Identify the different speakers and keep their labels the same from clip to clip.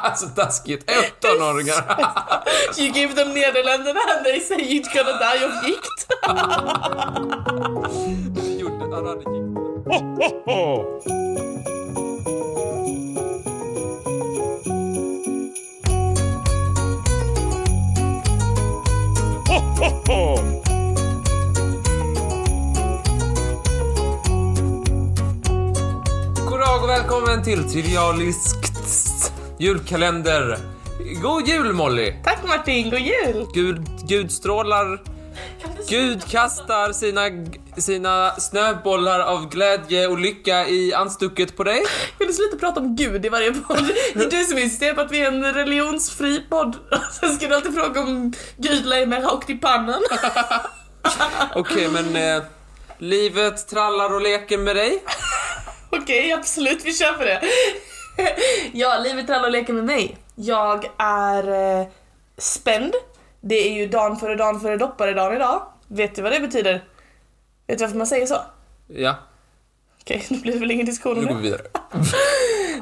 Speaker 1: alltså taskigt. 15-åringar.
Speaker 2: You give them Nederländerna and they say you're gonna die of gikt.
Speaker 1: Gjorde- han hade gick. God dag och välkommen till Trivialiskt julkalender. God jul Molly!
Speaker 2: Tack Martin, god jul!
Speaker 1: Gud, Gud strålar, Gud kastar sina, sina snöbollar av glädje och lycka i anstucket på dig.
Speaker 2: Kan du sluta prata om Gud i varje podd? Det är du som insisterar på att vi är en religionsfri podd. Sen ska du alltid fråga om Gud lägger mig rakt i pannan.
Speaker 1: Okej, men eh, livet trallar och leker med dig.
Speaker 2: Okej, absolut, vi kör på det. ja, livet är alla och leker med mig. Jag är eh, spänd. Det är ju dan före dan före dopparedan idag. Vet du vad det betyder? Vet du varför man säger så?
Speaker 1: Ja,
Speaker 2: Okej, nu blir det väl ingen diskussion om
Speaker 1: nu
Speaker 2: det.
Speaker 1: går vi vidare.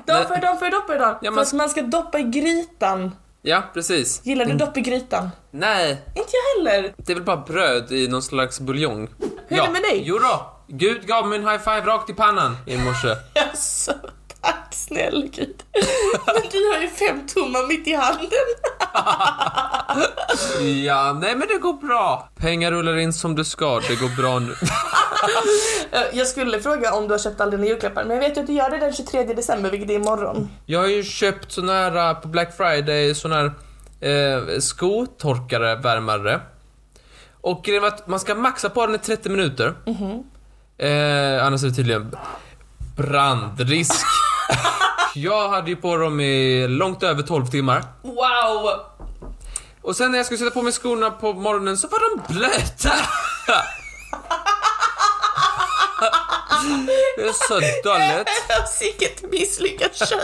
Speaker 2: Dag för dag för dag för dag.
Speaker 1: Ja, men-
Speaker 2: För att man ska doppa i grytan.
Speaker 1: Ja, precis.
Speaker 2: Gillar du dopp i grytan?
Speaker 1: Nej,
Speaker 2: Inte jag heller.
Speaker 1: det är väl bara bröd i någon slags buljong.
Speaker 2: Hur är det med dig?
Speaker 1: Jo då, Gud gav mig en high five rakt i pannan i morse.
Speaker 2: Jaså, tack snäll Gud. Men du har ju fem tummar mitt i handen.
Speaker 1: Ja, nej men det går bra. Pengar rullar in som det ska, det går bra nu.
Speaker 2: Eh, Jag skulle fråga om du har köpt all dina julklappar, men jag vet ju att du gör det den 23 december, vilket är imorgon.
Speaker 1: Jag har ju köpt sån här eh, på Black Friday, sån här eh, skotorkare, värmare. Och grejen var att man ska maxa på den i 30 minuter. Eh, annars är det tydligen brandrisk. jag hade ju på dem i långt över 12 timmar.
Speaker 2: Wow!
Speaker 1: Och sen när jag skulle sätta på mig skorna på morgonen så var de blöta! Det är så dåligt.
Speaker 2: Vilket misslyckat köp!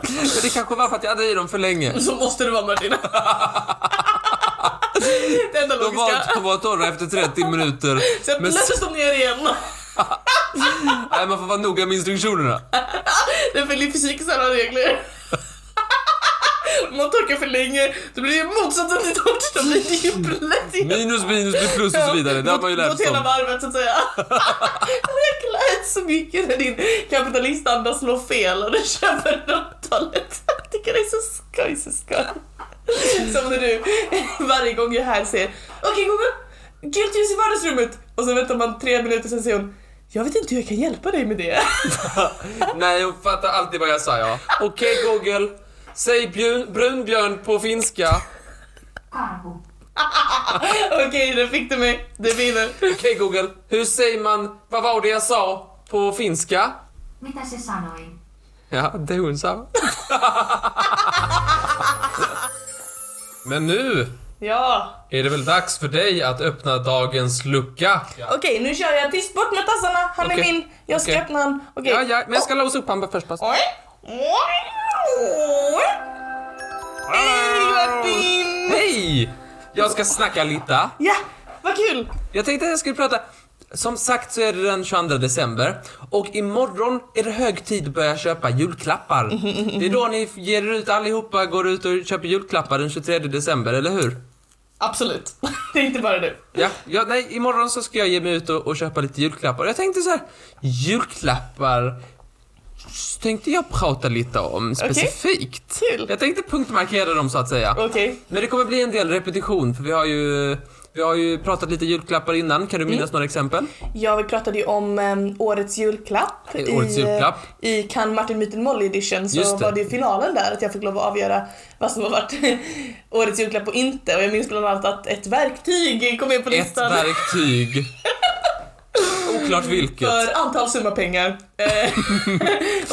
Speaker 1: Men det kanske var för att jag hade i dem för länge.
Speaker 2: Så måste det vara Martina. det enda
Speaker 1: De var,
Speaker 2: logiska.
Speaker 1: de var torra efter 30 minuter.
Speaker 2: Sen
Speaker 1: Men
Speaker 2: blöses de ner igen.
Speaker 1: nej, man får vara noga med instruktionerna.
Speaker 2: Det följer fysikens alla regler. Om man torkar för länge, då blir det ju motsatsen till torrt. Då blir det ju blött igen.
Speaker 1: Minus, minus blir plus och så vidare. Det har man ju lärt
Speaker 2: sig
Speaker 1: sig
Speaker 2: hela
Speaker 1: om.
Speaker 2: varvet så att säga. Jag klär så mycket när din kapitalistanda slår fel och du köper råtthållet. Jag tycker det är så skoj, så skoj. Som när du varje gång jag är här säger Okej Google, gult ljus i vardagsrummet. Och så väntar man tre minuter sen säger hon jag vet inte hur jag kan hjälpa dig med det.
Speaker 1: Nej, hon fattar alltid vad jag sa, ja. Okej, Google. Säg björn, brunbjörn på finska.
Speaker 2: Okej, det fick du mig. Det vinner.
Speaker 1: Okej, Google. Hur säger man vad var det jag sa på finska?
Speaker 3: Mitä se sanoi?
Speaker 1: Ja, det hon sa. Men nu
Speaker 2: Ja.
Speaker 1: är det väl dags för dig att öppna dagens lucka?
Speaker 2: Okej, nu kör jag tyst. Bort med tassarna. Han
Speaker 1: Okej.
Speaker 2: är min. Jag ska
Speaker 1: Okej.
Speaker 2: öppna han. Okej.
Speaker 1: Ja, ja, men jag ska låsa upp han först. Pass.
Speaker 2: Oj! Oj! Hej Martin!
Speaker 1: Hej! Jag ska snacka lite.
Speaker 2: Ja, vad kul!
Speaker 1: Jag tänkte att jag skulle prata... Som sagt så är det den 22 december och imorgon är det hög tid att börja köpa julklappar. Det är då ni ger er ut allihopa, går ut och köper julklappar den 23 december, eller hur?
Speaker 2: Absolut. Det är inte bara du.
Speaker 1: Ja, ja, nej, imorgon så ska jag ge mig ut och, och köpa lite julklappar. Jag tänkte så här, julklappar s- tänkte jag prata lite om specifikt.
Speaker 2: Kul.
Speaker 1: Jag tänkte punktmarkera dem så att säga.
Speaker 2: Okej.
Speaker 1: Men det kommer bli en del repetition för vi har ju, vi har ju pratat lite julklappar innan. Kan du minnas några exempel?
Speaker 2: Ja, vi pratade ju om em, årets julklapp.
Speaker 1: Eh, årets julklapp.
Speaker 2: eh, I Kan Martin Myten Molly edition så
Speaker 1: Just det.
Speaker 2: var det ju finalen där att jag fick lov att avgöra vad som har varit årets julklapp och inte. Och jag minns bland annat att ett verktyg kom med på
Speaker 1: Ett
Speaker 2: listan.
Speaker 1: verktyg. Oklart vilket.
Speaker 2: för antal summa pengar. Eh,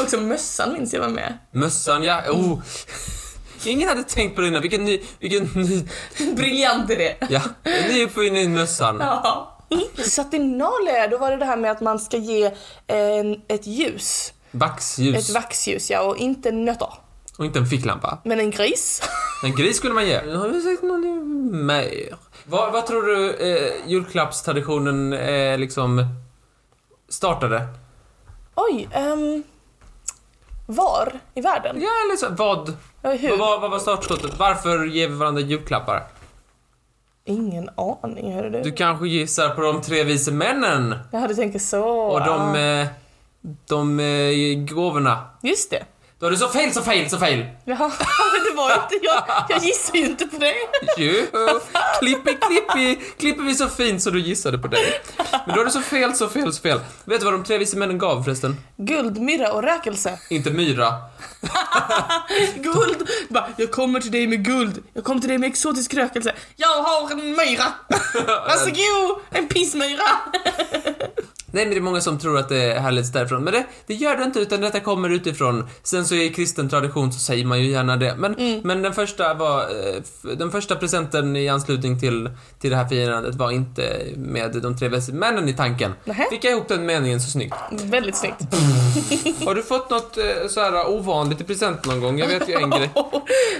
Speaker 2: Också mössan minns jag var med.
Speaker 1: Mössan, ja. Oh. Ingen hade tänkt på det innan. Vilken ny, vilken ny,
Speaker 2: Briljant idé.
Speaker 1: ja, en ny uppfinning i mössan.
Speaker 2: Ja. Satinalia, då var det det här med att man ska ge en, ett ljus. Ett
Speaker 1: Vaxljus
Speaker 2: vaxljus, ja, och inte nötter.
Speaker 1: och inte en ficklampa.
Speaker 2: Men en gris.
Speaker 1: En gris skulle man ge. Nu Mm, har vi sagt något mer. Vad, vad tror du eh, julklappstraditionen eh, liksom startade?
Speaker 2: Oj, ehm, var i världen?
Speaker 1: Ja, eller så, vad
Speaker 2: Ja,
Speaker 1: Vad
Speaker 2: hur?
Speaker 1: var, vad var startskottet? Varför ger vi varandra julklappar?
Speaker 2: Ingen aning, hörru du.
Speaker 1: Du kanske gissar på de tre vise männen
Speaker 2: Jaha, du tänker så.
Speaker 1: och de,
Speaker 2: ah.
Speaker 1: eh, de eh, gåvorna.
Speaker 2: Just det.
Speaker 1: Då är det så fel, så fel, så fel!
Speaker 2: Jaha, men det var ju inte... Jag, jag gissar ju inte på det.
Speaker 1: Jo, klippi, klippi, klipper vi så fint så du gissade på det. Men då är det så fel, så fel, så fel. Vet du vad de tre vise männen gav förresten?
Speaker 2: Guld, myrra och räkelse.
Speaker 1: Inte myra.
Speaker 2: Guld! Bara, jag kommer till dig med guld. Jag kommer till dig med exotisk rökelse. Jag har en myra. Varsågod! En pissmyra.
Speaker 1: Nej men det är många som tror att det härleds därifrån, men det, det gör det inte utan detta kommer utifrån. Sen så i kristen tradition så säger man ju gärna det, men,
Speaker 2: Mm.
Speaker 1: men den första var, eh, f- den första presenten i anslutning till, till det här firandet var inte med de tre bästa männen i tanken.
Speaker 2: Nähä.
Speaker 1: Fick jag ihop den meningen så snyggt.
Speaker 2: Väldigt snyggt.
Speaker 1: Har du fått något eh, så här ovanligt i present någon gång? Jag vet ju en grej.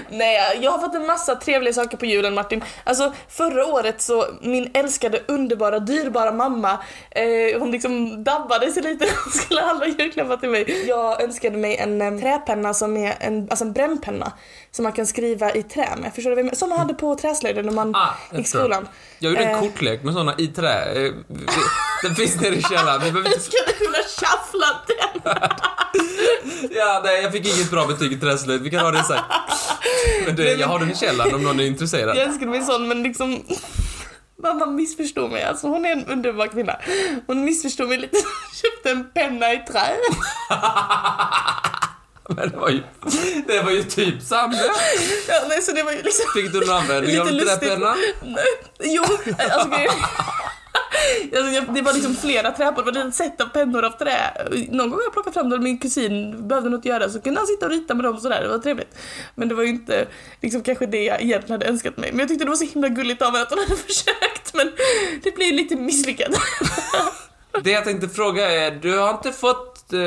Speaker 2: Nej, jag har fått en massa trevliga saker på julen Martin. Alltså förra året så min älskade, underbara, dyrbara mamma, eh, hon liksom dabbade sig lite och skulle ha alla julklappar till mig. Jag önskade mig en eh, träpenna som är en, alltså en brännpenna som man kan skriva i trä med. Förstår du vad jag menar? Som man hade på träslöjden när man
Speaker 1: Ah, jag
Speaker 2: gick i
Speaker 1: tror.
Speaker 2: skolan.
Speaker 1: Jag gjorde en
Speaker 2: Eh.
Speaker 1: kortlek med såna i trä. Eh, vi- Den finns nere i källaren. Vi behöver
Speaker 2: Jag
Speaker 1: inte...
Speaker 2: skulle kunna shuffla den.
Speaker 1: Ja, nej, jag fick inget bra betyg i träslöjd. Vi kan ha det sen. Men det, jag har den i källaren om någon är intresserad.
Speaker 2: Jag önskade mig en sån men liksom Mamma missförstod mig, alltså hon är en underbar kvinna. Hon missförstod mig lite, köpte en penna i trä.
Speaker 1: Men det var ju, det var ju typ samma.
Speaker 2: Ja, nej, så det var ju liksom...
Speaker 1: Fick du någon användning av
Speaker 2: Lite
Speaker 1: den där
Speaker 2: lustigt.
Speaker 1: pennan?
Speaker 2: Nej, Jo, alltså grejen... Alltså, jag- det var liksom flera träpor, det var ett sätt av pennor av trä. Någon gång har jag plockat fram dem, min kusin behövde något att göra så kunde han sitta och rita med dem och sådär, det var trevligt. Men det var ju inte liksom kanske det jag egentligen hade önskat mig. Men jag tyckte det var så himla gulligt av henne att hon hade försökt men det blev lite misslyckat.
Speaker 1: Det jag tänkte fråga är, du har inte fått eh,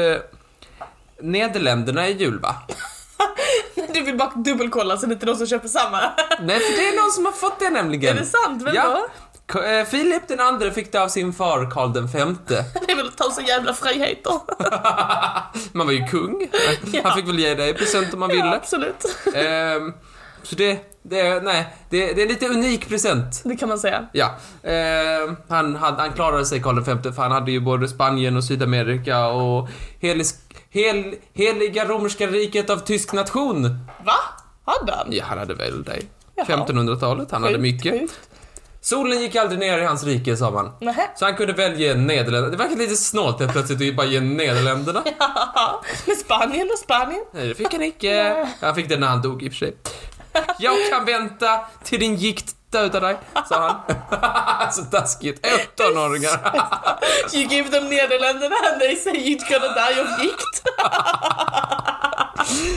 Speaker 1: Nederländerna i jul va?
Speaker 2: Du vill bara dubbelkolla så det är inte någon som köper samma.
Speaker 1: Nej, för det är någon som har fått det
Speaker 2: Är
Speaker 1: nämligen.
Speaker 2: det sant? Vem
Speaker 1: Ja.
Speaker 2: då?
Speaker 1: K- eh, Filip den andre fick det av sin far Karl den femte.
Speaker 2: Det är väl att ta sig jävla friheter.
Speaker 1: Man var ju kung.
Speaker 2: Ja.
Speaker 1: Han fick väl ge dig present om man
Speaker 2: Ja,
Speaker 1: ville.
Speaker 2: absolut.
Speaker 1: Ehm, så det, det, nej, det, det är en lite unik present.
Speaker 2: Det kan man säga.
Speaker 1: Ja, ehm, han, hade, han klarade sig Karl V för han hade ju både Spanien och Sydamerika och helis, hel, Heliga Romerska riket av tysk nation.
Speaker 2: Va? Hade han?
Speaker 1: Ja, han hade väl dig.
Speaker 2: Jaha.
Speaker 1: 1500-talet, han hade
Speaker 2: Sjukt,
Speaker 1: mycket.
Speaker 2: sjukt.
Speaker 1: Solen gick aldrig ner i hans rike, sa man.
Speaker 2: Nähä.
Speaker 1: Så han kunde välja Nederländerna. Det verkar lite snålt helt plötsligt att ju bara ge Nederländerna.
Speaker 2: Men Spanien och Spanien.
Speaker 1: Nej, det fick han icke. Han fick det när han dog i och för sig. Jag kan vänta till din gikt dödar dig, sa han. Så taskigt. 18-åringar.
Speaker 2: You give them Nederländerna and they say you're gonna die of gikt.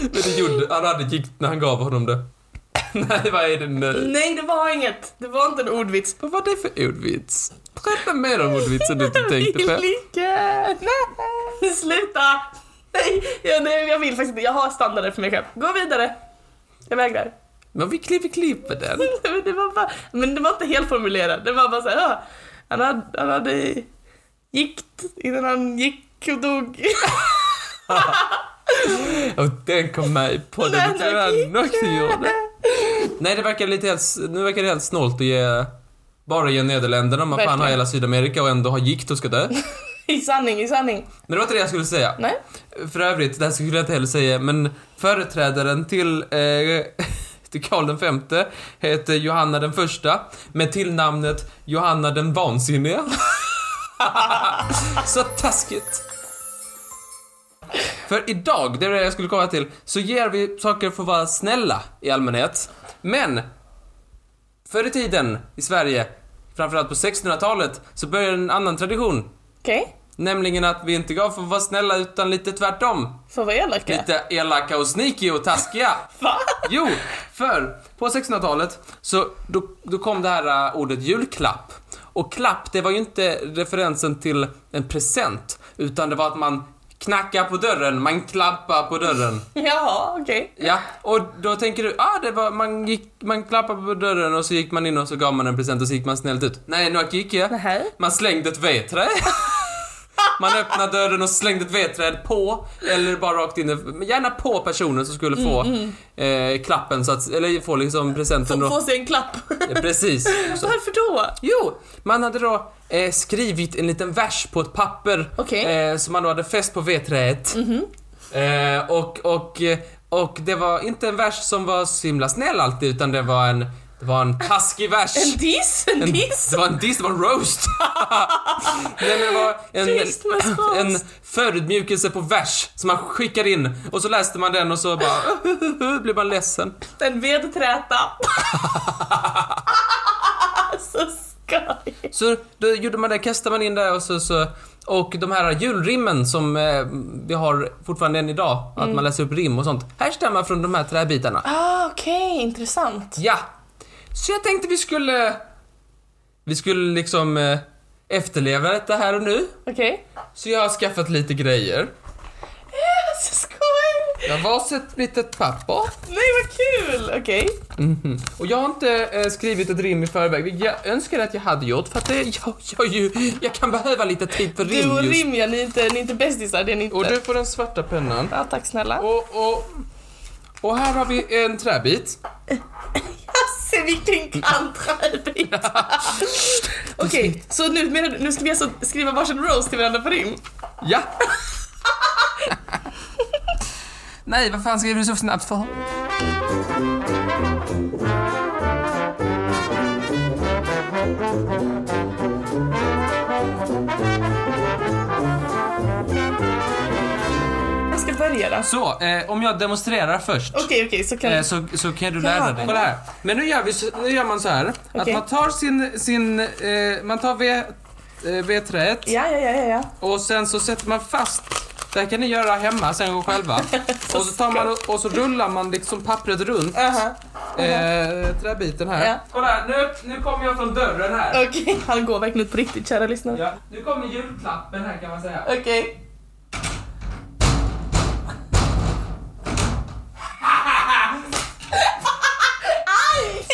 Speaker 1: Men det gjorde, han hade gikt när han gav honom det. Nej, vad är det nu?
Speaker 2: Nej, det var inget. Det var inte en ordvits.
Speaker 1: Vad var det för ordvits? Berätta mer om ordvitsen du inte tänkte på.
Speaker 2: Vilken? Nej, sluta! Nej, jag, nej, jag vill faktiskt inte. Jag har standarder för mig själv. Gå vidare. Jag vägrar.
Speaker 1: Men vi klipper, klipper den.
Speaker 2: Men det var, bara, men det var inte helt formulerat. Det var bara såhär, ja, han hade, han hade gikt innan han gick och dog.
Speaker 1: Och den kom med i podden. Det tror jag nog det gjorde. Nej, det verkar lite helt, nu verkar det helt snålt att ge, bara ge Nederländerna. Man fan
Speaker 2: Verkligen.
Speaker 1: har hela Sydamerika och ändå har gikt och ska dö.
Speaker 2: I sanning, i sanning.
Speaker 1: Men det var inte det jag skulle säga.
Speaker 2: Nej.
Speaker 1: För övrigt, det här skulle jag inte heller säga, men företrädaren till, eh, till Karl den femte heter Johanna den första med tillnamnet Johanna den vansinniga. så taskigt! För idag, det är det jag skulle komma till, så ger vi saker för att vara snälla i allmänhet. Men förr i tiden i Sverige, framförallt på 1600-talet, så började en annan tradition
Speaker 2: Okej,
Speaker 1: Nämligen att vi inte gav för att vara snälla utan lite tvärtom.
Speaker 2: får vara elaka.
Speaker 1: Lite elaka och sneaky och taskiga.
Speaker 2: Va?
Speaker 1: Jo, för på 1600-talet så då, då kom det här äh, ordet julklapp. Och klapp, det var ju inte referensen till en present, utan det var att man knackar på dörren, man klappar på dörren.
Speaker 2: Jaha, okej.
Speaker 1: Ja, och då tänker du, ah, det var, man, gick, man klappade på dörren och så gick man in och så gav man en present och så gick man snällt ut. Nej, nu gick jag.
Speaker 2: Nähä.
Speaker 1: Man slängde ett vedträ. Man öppnar dörren och slängde ett vedträd på, eller bara rakt in, men gärna på personen som skulle få Eh, klappen, så att, eller få liksom presenten
Speaker 2: Mm, Få
Speaker 1: då.
Speaker 2: sig en klapp.
Speaker 1: Eh, Precis. Så.
Speaker 2: Varför då?
Speaker 1: Jo, man hade då eh, skrivit en liten vers på ett papper
Speaker 2: Okej. Mhm.
Speaker 1: eh, som man då hade fäst på vedträet. Eh, och, och, eh, och det var inte en vers som var så himla snäll alltid, utan det var en, det var en taskig vers.
Speaker 2: En diss? En, diss?
Speaker 1: Det var en diss, det var en roast. Nej, men det var
Speaker 2: Trist men
Speaker 1: en, en
Speaker 2: roast.
Speaker 1: förödmjukelse på vers som man skickar in och så läste man den och så bara blev man ledsen.
Speaker 2: En vedträta. så skoj.
Speaker 1: Så då gjorde man det, kastade man in det och så, så och de här julrimmen som eh, vi har fortfarande än idag,
Speaker 2: Mm.
Speaker 1: att man läser upp rim och sånt, härstammar från de här träbitarna.
Speaker 2: Ah, Okej, intressant.
Speaker 1: Ja! Så jag tänkte vi skulle... Vi skulle liksom eh, efterleva detta här och nu.
Speaker 2: Okej.
Speaker 1: Så jag har skaffat lite grejer.
Speaker 2: Ah, Så skoj!
Speaker 1: Jag har varsitt litet papper.
Speaker 2: Nej vad kul! Okej.
Speaker 1: Och jag har inte eh, skrivit ett rim i förväg, vilket jag önskar att jag hade gjort för att det, jag, jag, är ju, jag kan behöva lite tid för
Speaker 2: Du
Speaker 1: rim
Speaker 2: och
Speaker 1: just.
Speaker 2: Rimja, ni är inte, ni är inte bästisar, det är ni inte.
Speaker 1: Och du får den svarta pennan.
Speaker 2: Ja, tack snälla.
Speaker 1: Och, och, och här har vi en träbit.
Speaker 2: Hasse, vilken kantradbit! Okej, så nu, menar, du- nu ska vi alltså skriva varsin roast till varandra på rim?
Speaker 1: Ja! Nej, vad fan skriver du så snabbt för?
Speaker 2: Jag ska börja då. Okej,
Speaker 1: Så, eh, om jag demonstrerar först.
Speaker 2: okej, så kan
Speaker 1: eh, Så, så kan du lära
Speaker 2: Ja.
Speaker 1: dig. Kolla här. Men nu gör, vi, så- nu gör man så här. Att
Speaker 2: Okej.
Speaker 1: man tar sin, sin eh, man tar v, eh, vedträet
Speaker 2: Ja, ja, ja, ja, ja.
Speaker 1: och sen så sätter man fast. Det här kan ni göra hemma sen själva. Och så tar man och, och så rullar man liksom pappret runt
Speaker 2: Aha.
Speaker 1: eh, träbiten här.
Speaker 2: Ja.
Speaker 1: Kolla här, nu, nu kommer jag från dörren här.
Speaker 2: Okej, han går verkligen ut på riktigt, kära lyssnare.
Speaker 1: Ja, nu kommer julklappen här kan man säga.
Speaker 2: Okej. Aj!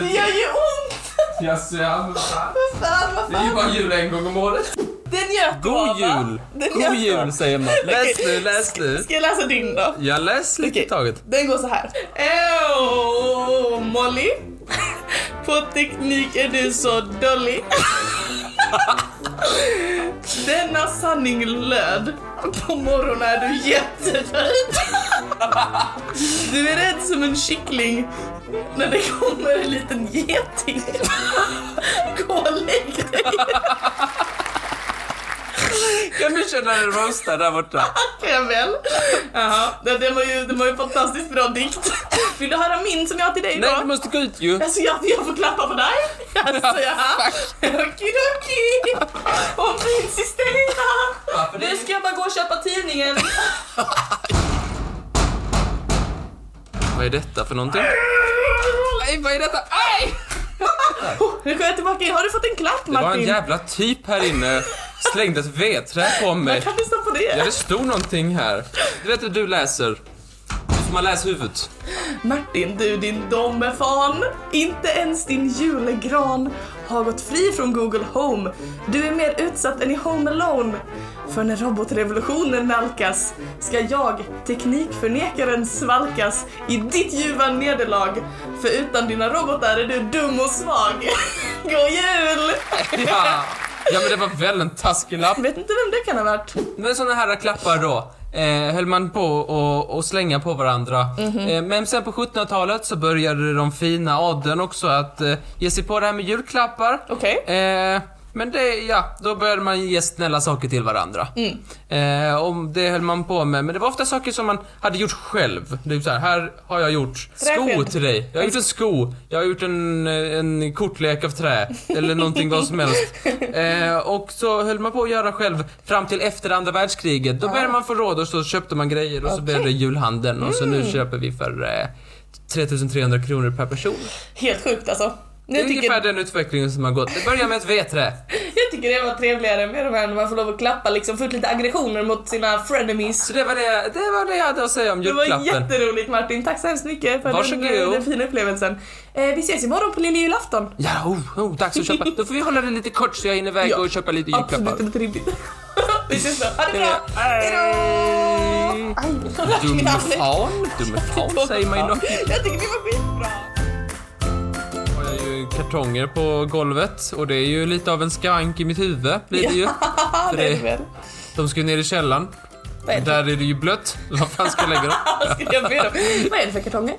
Speaker 2: Det gör ju ont!
Speaker 1: Jaså, ja, men fan.
Speaker 2: Vad fan, vad
Speaker 1: Det är ju
Speaker 2: fan.
Speaker 1: bara jul en gång om året.
Speaker 2: Den njöt du
Speaker 1: God
Speaker 2: av, va?
Speaker 1: jul!
Speaker 2: Den
Speaker 1: God
Speaker 2: njöt du
Speaker 1: jul
Speaker 2: av.
Speaker 1: säger man. Läs
Speaker 2: Okej.
Speaker 1: nu, läs nu.
Speaker 2: Ska jag läsa din då?
Speaker 1: Jag läs lite i
Speaker 2: Okej.
Speaker 1: taget.
Speaker 2: Den går så här. Åh, Molly. På teknik är du så dålig. Denna sanning löd. På morgonen är du jättedöd. Du är rädd som en kyckling när det kommer en liten geting. Gå och lägg dig.
Speaker 1: Kan du känna dig roastad där borta?
Speaker 2: Kan jag väl? Jaha, det, det, var ju, det var ju fantastiskt bra dikt. Vill du höra min som jag har till dig
Speaker 1: Nej,
Speaker 2: då?
Speaker 1: du måste gå ut ju.
Speaker 2: Alltså jag, jag får klappa på dig? Alltså jaha? Okidoki! Hon finns i
Speaker 1: Varför det?
Speaker 2: Stena! Nu ska jag bara gå och köpa tidningen.
Speaker 1: Vad är detta för någonting? Nej, vad är detta?
Speaker 2: Aj! Nu går jag tillbaka in. Har du fått en klapp
Speaker 1: Det var en
Speaker 2: Martin?
Speaker 1: jävla typ här inne. Slängde ett vedträ på mig.
Speaker 2: Kan du stå på
Speaker 1: Ja,
Speaker 2: det?
Speaker 1: det stod någonting här. Du vet att du läser. Du man läser huvudet.
Speaker 2: Martin, du din dommefan. Inte ens din julgran har gått fri från Google Home. Du är mer utsatt än i Home Alone. För när robotrevolutionen nalkas ska jag, teknikförnekaren, svalkas i ditt ljuva nederlag. För utan dina robotar är du dum och svag. God jul!
Speaker 1: Ja. ja, men det var väl en taskig lapp.
Speaker 2: Vet inte vem det kan ha varit.
Speaker 1: Men såna här klappar då eh, höll man på och, och slänga på varandra. Eh, men sen på 1700-talet så började de fina adeln också att eh, ge sig på det här med julklappar.
Speaker 2: Okej.
Speaker 1: Eh, men det, ja, då började man ge snälla saker till varandra. Eh, och det höll man på med, men det var ofta saker som man hade gjort själv. Det är så här, här har jag gjort sko
Speaker 2: Träsked.
Speaker 1: till dig. Jag har gjort en sko, jag har gjort en, eh, en kortlek av trä, eller någonting vad som helst. Eh, och så höll man på att göra själv fram till efter andra världskriget. Då började man få råd och så köpte man grejer och så började julhandeln och så nu köper vi för eh, 3300 kronor per person.
Speaker 2: Helt sjukt alltså. Nu
Speaker 1: Det är
Speaker 2: tycker-
Speaker 1: ungefär den utvecklingen som har gått. Det börjar med ett vedträ.
Speaker 2: Jag tycker det var trevligare med de här när man får lov att klappa liksom, få ut lite aggressioner mot sina frenemies.
Speaker 1: Så det var det, det var det jag hade att säga om
Speaker 2: Det var
Speaker 1: julklappen.
Speaker 2: jätteroligt Martin, tack så hemskt mycket för den,
Speaker 1: Varsågod.
Speaker 2: den fina upplevelsen. Eh, vi ses imorgon på lilla julafton.
Speaker 1: Ja, oh, oh, dags att köpa. Då får vi hålla det lite kort så jag hinner iväg
Speaker 2: Ja,
Speaker 1: och köpa lite julklappar.
Speaker 2: Absolut inte rimligt. Vi ses då. Ha det bra. Hejdå! Aj,
Speaker 1: Dumme
Speaker 2: jag-
Speaker 1: fan, dumme fan säger man ju nog.
Speaker 2: Jag tycker det var skitbra.
Speaker 1: har jag ju kartonger på golvet och det är ju lite av en skank i mitt huvud blir det ju.
Speaker 2: Ja, det är det väl.
Speaker 1: De ska ju ner i källaren.
Speaker 2: Vad är det?
Speaker 1: Där är det ju blött. Vad fan ska jag lägga dem?
Speaker 2: Skulle jag be dem? Vad är det för kartonger?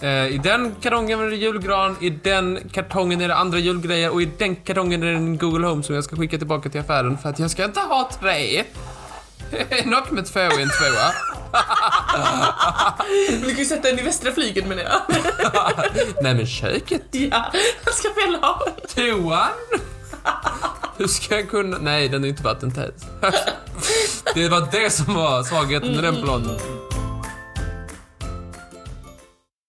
Speaker 1: Eh, I den kartongen är det julgran, i den kartongen är det andra julgrejer och i den kartongen är det en Google Home som jag ska skicka tillbaka till affären för att jag ska inte ha tre. Något med två i en tvåa.
Speaker 2: Du kan ju sätta den i västra flygeln menar jag.
Speaker 1: Nej men köket,
Speaker 2: Ja, jag ska väl ha den.
Speaker 1: toan. Hur ska jag kunna... Nej, den är inte vattentät. det var det som var svagheten i den planen.